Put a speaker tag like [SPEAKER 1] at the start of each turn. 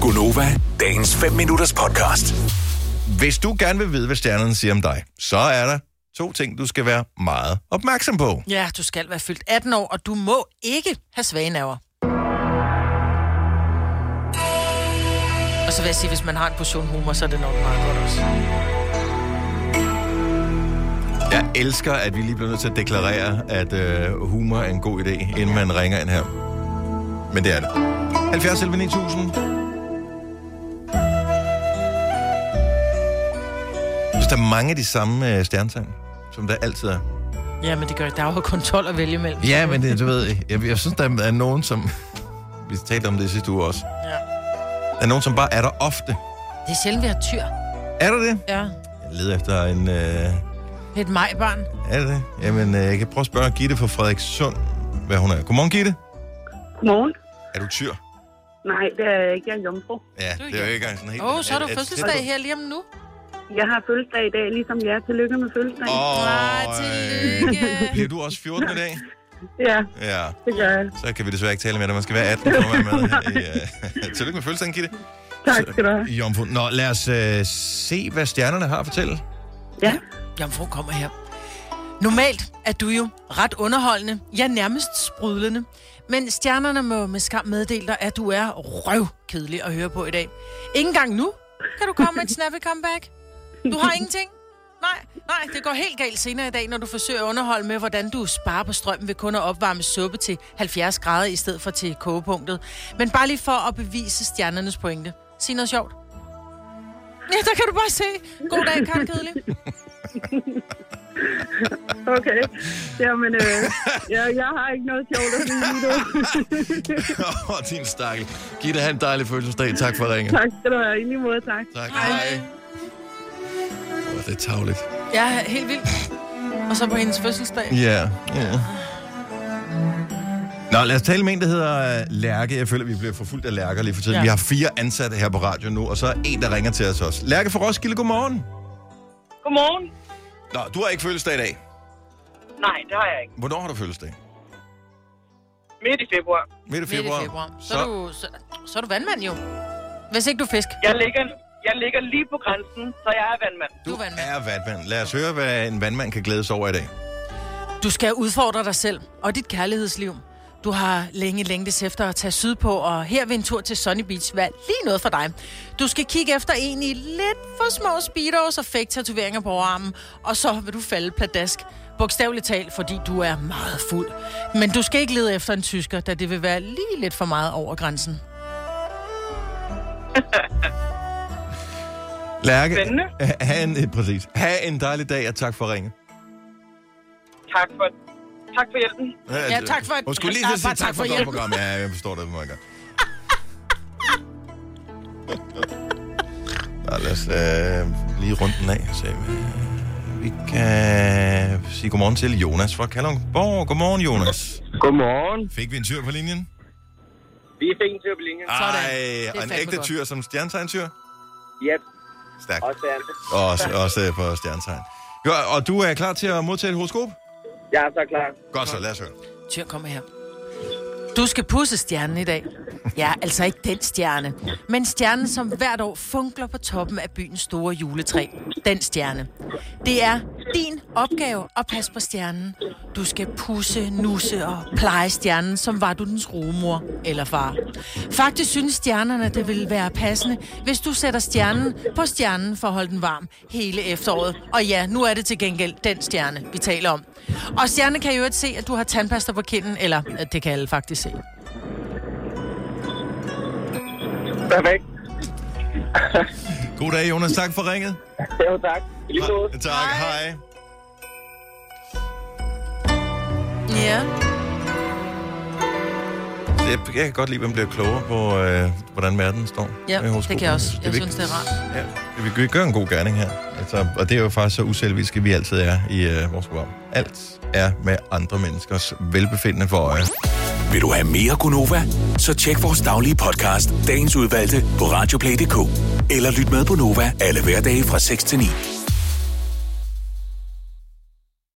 [SPEAKER 1] Gunova, dagens 5 minutters podcast.
[SPEAKER 2] Hvis du gerne vil vide, hvad stjernerne siger om dig, så er der to ting, du skal være meget opmærksom på.
[SPEAKER 3] Ja, du skal være fyldt 18 år, og du må ikke have svage naver. Og så vil jeg sige, hvis man har en portion humor, så er det nok meget godt også.
[SPEAKER 2] Jeg elsker, at vi lige bliver nødt til at deklarere, at øh, humor er en god idé, inden man ringer ind her. Men det er det. 70 11 9000. Så der er mange af de samme øh, stjernetegn, som der altid er.
[SPEAKER 3] Ja, men det gør det. Der er jo kun 12 at vælge imellem.
[SPEAKER 2] Ja, men det, du ved, jeg, jeg synes, der er nogen, som... Vi talte om det sidste uge også.
[SPEAKER 3] Ja.
[SPEAKER 2] Der er nogen, som bare er der ofte.
[SPEAKER 3] Det er sjældent, vi har tyr.
[SPEAKER 2] Er der det?
[SPEAKER 3] Ja.
[SPEAKER 2] Jeg leder efter en... Øh,
[SPEAKER 3] Et majbarn.
[SPEAKER 2] Er det det? Jamen, øh, jeg kan prøve at spørge Gitte fra Frederikssund, hvad hun er. Godmorgen, Gitte.
[SPEAKER 4] Godmorgen.
[SPEAKER 2] Er du tyr?
[SPEAKER 4] Nej, det er jeg ikke. Jeg er jomfru.
[SPEAKER 2] Ja,
[SPEAKER 3] Du er
[SPEAKER 2] det er jo ikke engang sådan helt...
[SPEAKER 3] Åh, oh, så er du
[SPEAKER 2] at- at-
[SPEAKER 3] fødselsdag her lige om nu.
[SPEAKER 4] Jeg har fødselsdag i dag, ligesom jeg er. Tillykke med fødselsdagen. Oh.
[SPEAKER 2] Åh,
[SPEAKER 3] Nej,
[SPEAKER 2] øh,
[SPEAKER 3] tillykke.
[SPEAKER 2] Bliver du også 14 i dag?
[SPEAKER 4] Ja,
[SPEAKER 2] Ja,
[SPEAKER 4] det gør jeg.
[SPEAKER 2] så kan vi desværre ikke tale med dig. Man skal være 18 for at være med. her i, øh, Tillykke med fødselsdagen, Gitte.
[SPEAKER 4] Tak skal du have.
[SPEAKER 2] Jomfru. Nå, lad os øh, se, hvad stjernerne har at fortælle.
[SPEAKER 4] Ja,
[SPEAKER 3] Jomfru kommer her. Normalt er du jo ret underholdende, ja nærmest sprudlende. Men stjernerne må med skam meddele dig, at du er røvkedelig at høre på i dag. Ikke engang nu kan du komme med et snappy comeback. Du har ingenting. Nej, nej, det går helt galt senere i dag, når du forsøger at underholde med, hvordan du sparer på strømmen ved kun at opvarme suppe til 70 grader i stedet for til kogepunktet. Men bare lige for at bevise stjernernes pointe. Sig noget sjovt. Ja, der kan du bare se. God dag, Karen Kedelig.
[SPEAKER 4] okay. Jamen, øh, ja, jeg har ikke noget sjovt at sige lige nu.
[SPEAKER 2] Åh, din stakkel. Gitte, have en dejlig fødselsdag. Tak for ringen.
[SPEAKER 4] tak skal du have. I lige måde, tak.
[SPEAKER 2] Tak. Hej. Åh, det er tavligt.
[SPEAKER 3] Ja, helt vildt. Og så på hendes fødselsdag.
[SPEAKER 2] Ja, ja. Nå, lad os tale med en, der hedder øh, Lærke. Jeg føler, vi bliver forfulgt af Lærker lige for tiden. Ja.
[SPEAKER 3] Ja.
[SPEAKER 2] Vi har fire ansatte her på radio nu, og så er en, der ringer til os også. Lærke fra Roskilde, godmorgen.
[SPEAKER 5] Godmorgen.
[SPEAKER 2] Nå, du har ikke fødselsdag i dag.
[SPEAKER 5] Nej, det har jeg ikke.
[SPEAKER 2] Hvornår har du fødselsdag?
[SPEAKER 5] Midt i februar.
[SPEAKER 2] Midt i
[SPEAKER 3] Midt i
[SPEAKER 2] februar.
[SPEAKER 3] februar. Så,
[SPEAKER 2] Så,
[SPEAKER 3] er du, så, så er du vandmand jo. Hvis ikke du er fisk.
[SPEAKER 5] Jeg ligger, jeg ligger lige på grænsen, så jeg er vandmand.
[SPEAKER 3] Du
[SPEAKER 2] du
[SPEAKER 3] er vandmand.
[SPEAKER 2] er vandmand. Lad os høre, hvad en vandmand kan glædes over i dag.
[SPEAKER 3] Du skal udfordre dig selv og dit kærlighedsliv. Du har længe længtes efter at tage sydpå, og her vil en tur til Sunny Beach være lige noget for dig. Du skal kigge efter en i lidt for små speedos og fake tatoveringer på armen, og så vil du falde pladask. Bogstaveligt talt, fordi du er meget fuld. Men du skal ikke lede efter en tysker, da det vil være lige lidt for meget over grænsen.
[SPEAKER 2] Lærke,
[SPEAKER 5] Spændende.
[SPEAKER 2] ha' en, eh, præcis. Ha' en dejlig dag, og tak for ringen.
[SPEAKER 5] Tak for, tak for hjælpen.
[SPEAKER 3] Ja, tak for-
[SPEAKER 2] Hun skulle lige
[SPEAKER 3] Nej,
[SPEAKER 2] til at sige
[SPEAKER 3] bare
[SPEAKER 2] tak
[SPEAKER 3] tak
[SPEAKER 2] for
[SPEAKER 3] for
[SPEAKER 2] godt
[SPEAKER 3] hjælp.
[SPEAKER 2] program. Ja, jeg forstår det meget godt. Nå, lad os øh, lige rundt den af. Så, øh, vi kan sige godmorgen til Jonas fra Kalundborg. Godmorgen, Jonas.
[SPEAKER 6] Godmorgen.
[SPEAKER 2] Fik vi en tyr på linjen?
[SPEAKER 6] Vi fik en tur på
[SPEAKER 2] Ah.
[SPEAKER 6] linjen.
[SPEAKER 3] Sådan. Det er
[SPEAKER 2] Ej, og en
[SPEAKER 3] fandme
[SPEAKER 2] ægte
[SPEAKER 3] godt.
[SPEAKER 2] tyr som stjernetegntyr?
[SPEAKER 6] Ja,
[SPEAKER 2] Stærkt.
[SPEAKER 6] også er det.
[SPEAKER 2] Også, også øh, for stjernetegn. Jo, og du er klar til at modtage et horoskop?
[SPEAKER 6] Jeg er så klar.
[SPEAKER 2] Godt så, lad os høre.
[SPEAKER 3] Tyr, kom her. Du skal pusse stjernen i dag. Ja, altså ikke den stjerne, men stjernen, som hvert år funkler på toppen af byens store juletræ. Den stjerne. Det er din opgave at passe på stjernen. Du skal pusse, nusse og pleje stjernen, som var du dens rumor eller far. Faktisk synes stjernerne, det ville være passende, hvis du sætter stjernen på stjernen for at holde den varm hele efteråret. Og ja, nu er det til gengæld den stjerne, vi taler om. Og stjerne kan jo ikke se, at du har tandpasta på kinden, eller øh, det kan alle faktisk se.
[SPEAKER 6] Perfekt.
[SPEAKER 2] God dag, Jonas. Tak for ringet.
[SPEAKER 6] Jo, tak. I Lige måde.
[SPEAKER 2] Tak, hej. hej.
[SPEAKER 3] Ja.
[SPEAKER 2] Jeg, jeg kan godt lide, at man bliver klogere på, øh, hvordan verden står.
[SPEAKER 3] Ja,
[SPEAKER 2] med horoskoper.
[SPEAKER 3] det kan jeg også. Jeg
[SPEAKER 2] vigtigt.
[SPEAKER 3] synes, det er
[SPEAKER 2] Ja, vi gør- vi gør en god gerning her. Altså, og det er jo faktisk så uselviske, vi altid er i øh, vores program. Alt er med andre menneskers velbefindende for øje.
[SPEAKER 1] Vil du have mere Gunova? Så tjek vores daglige podcast, dagens udvalgte, på radioplay.dk. Eller lyt med på Nova alle hverdage fra 6 til 9.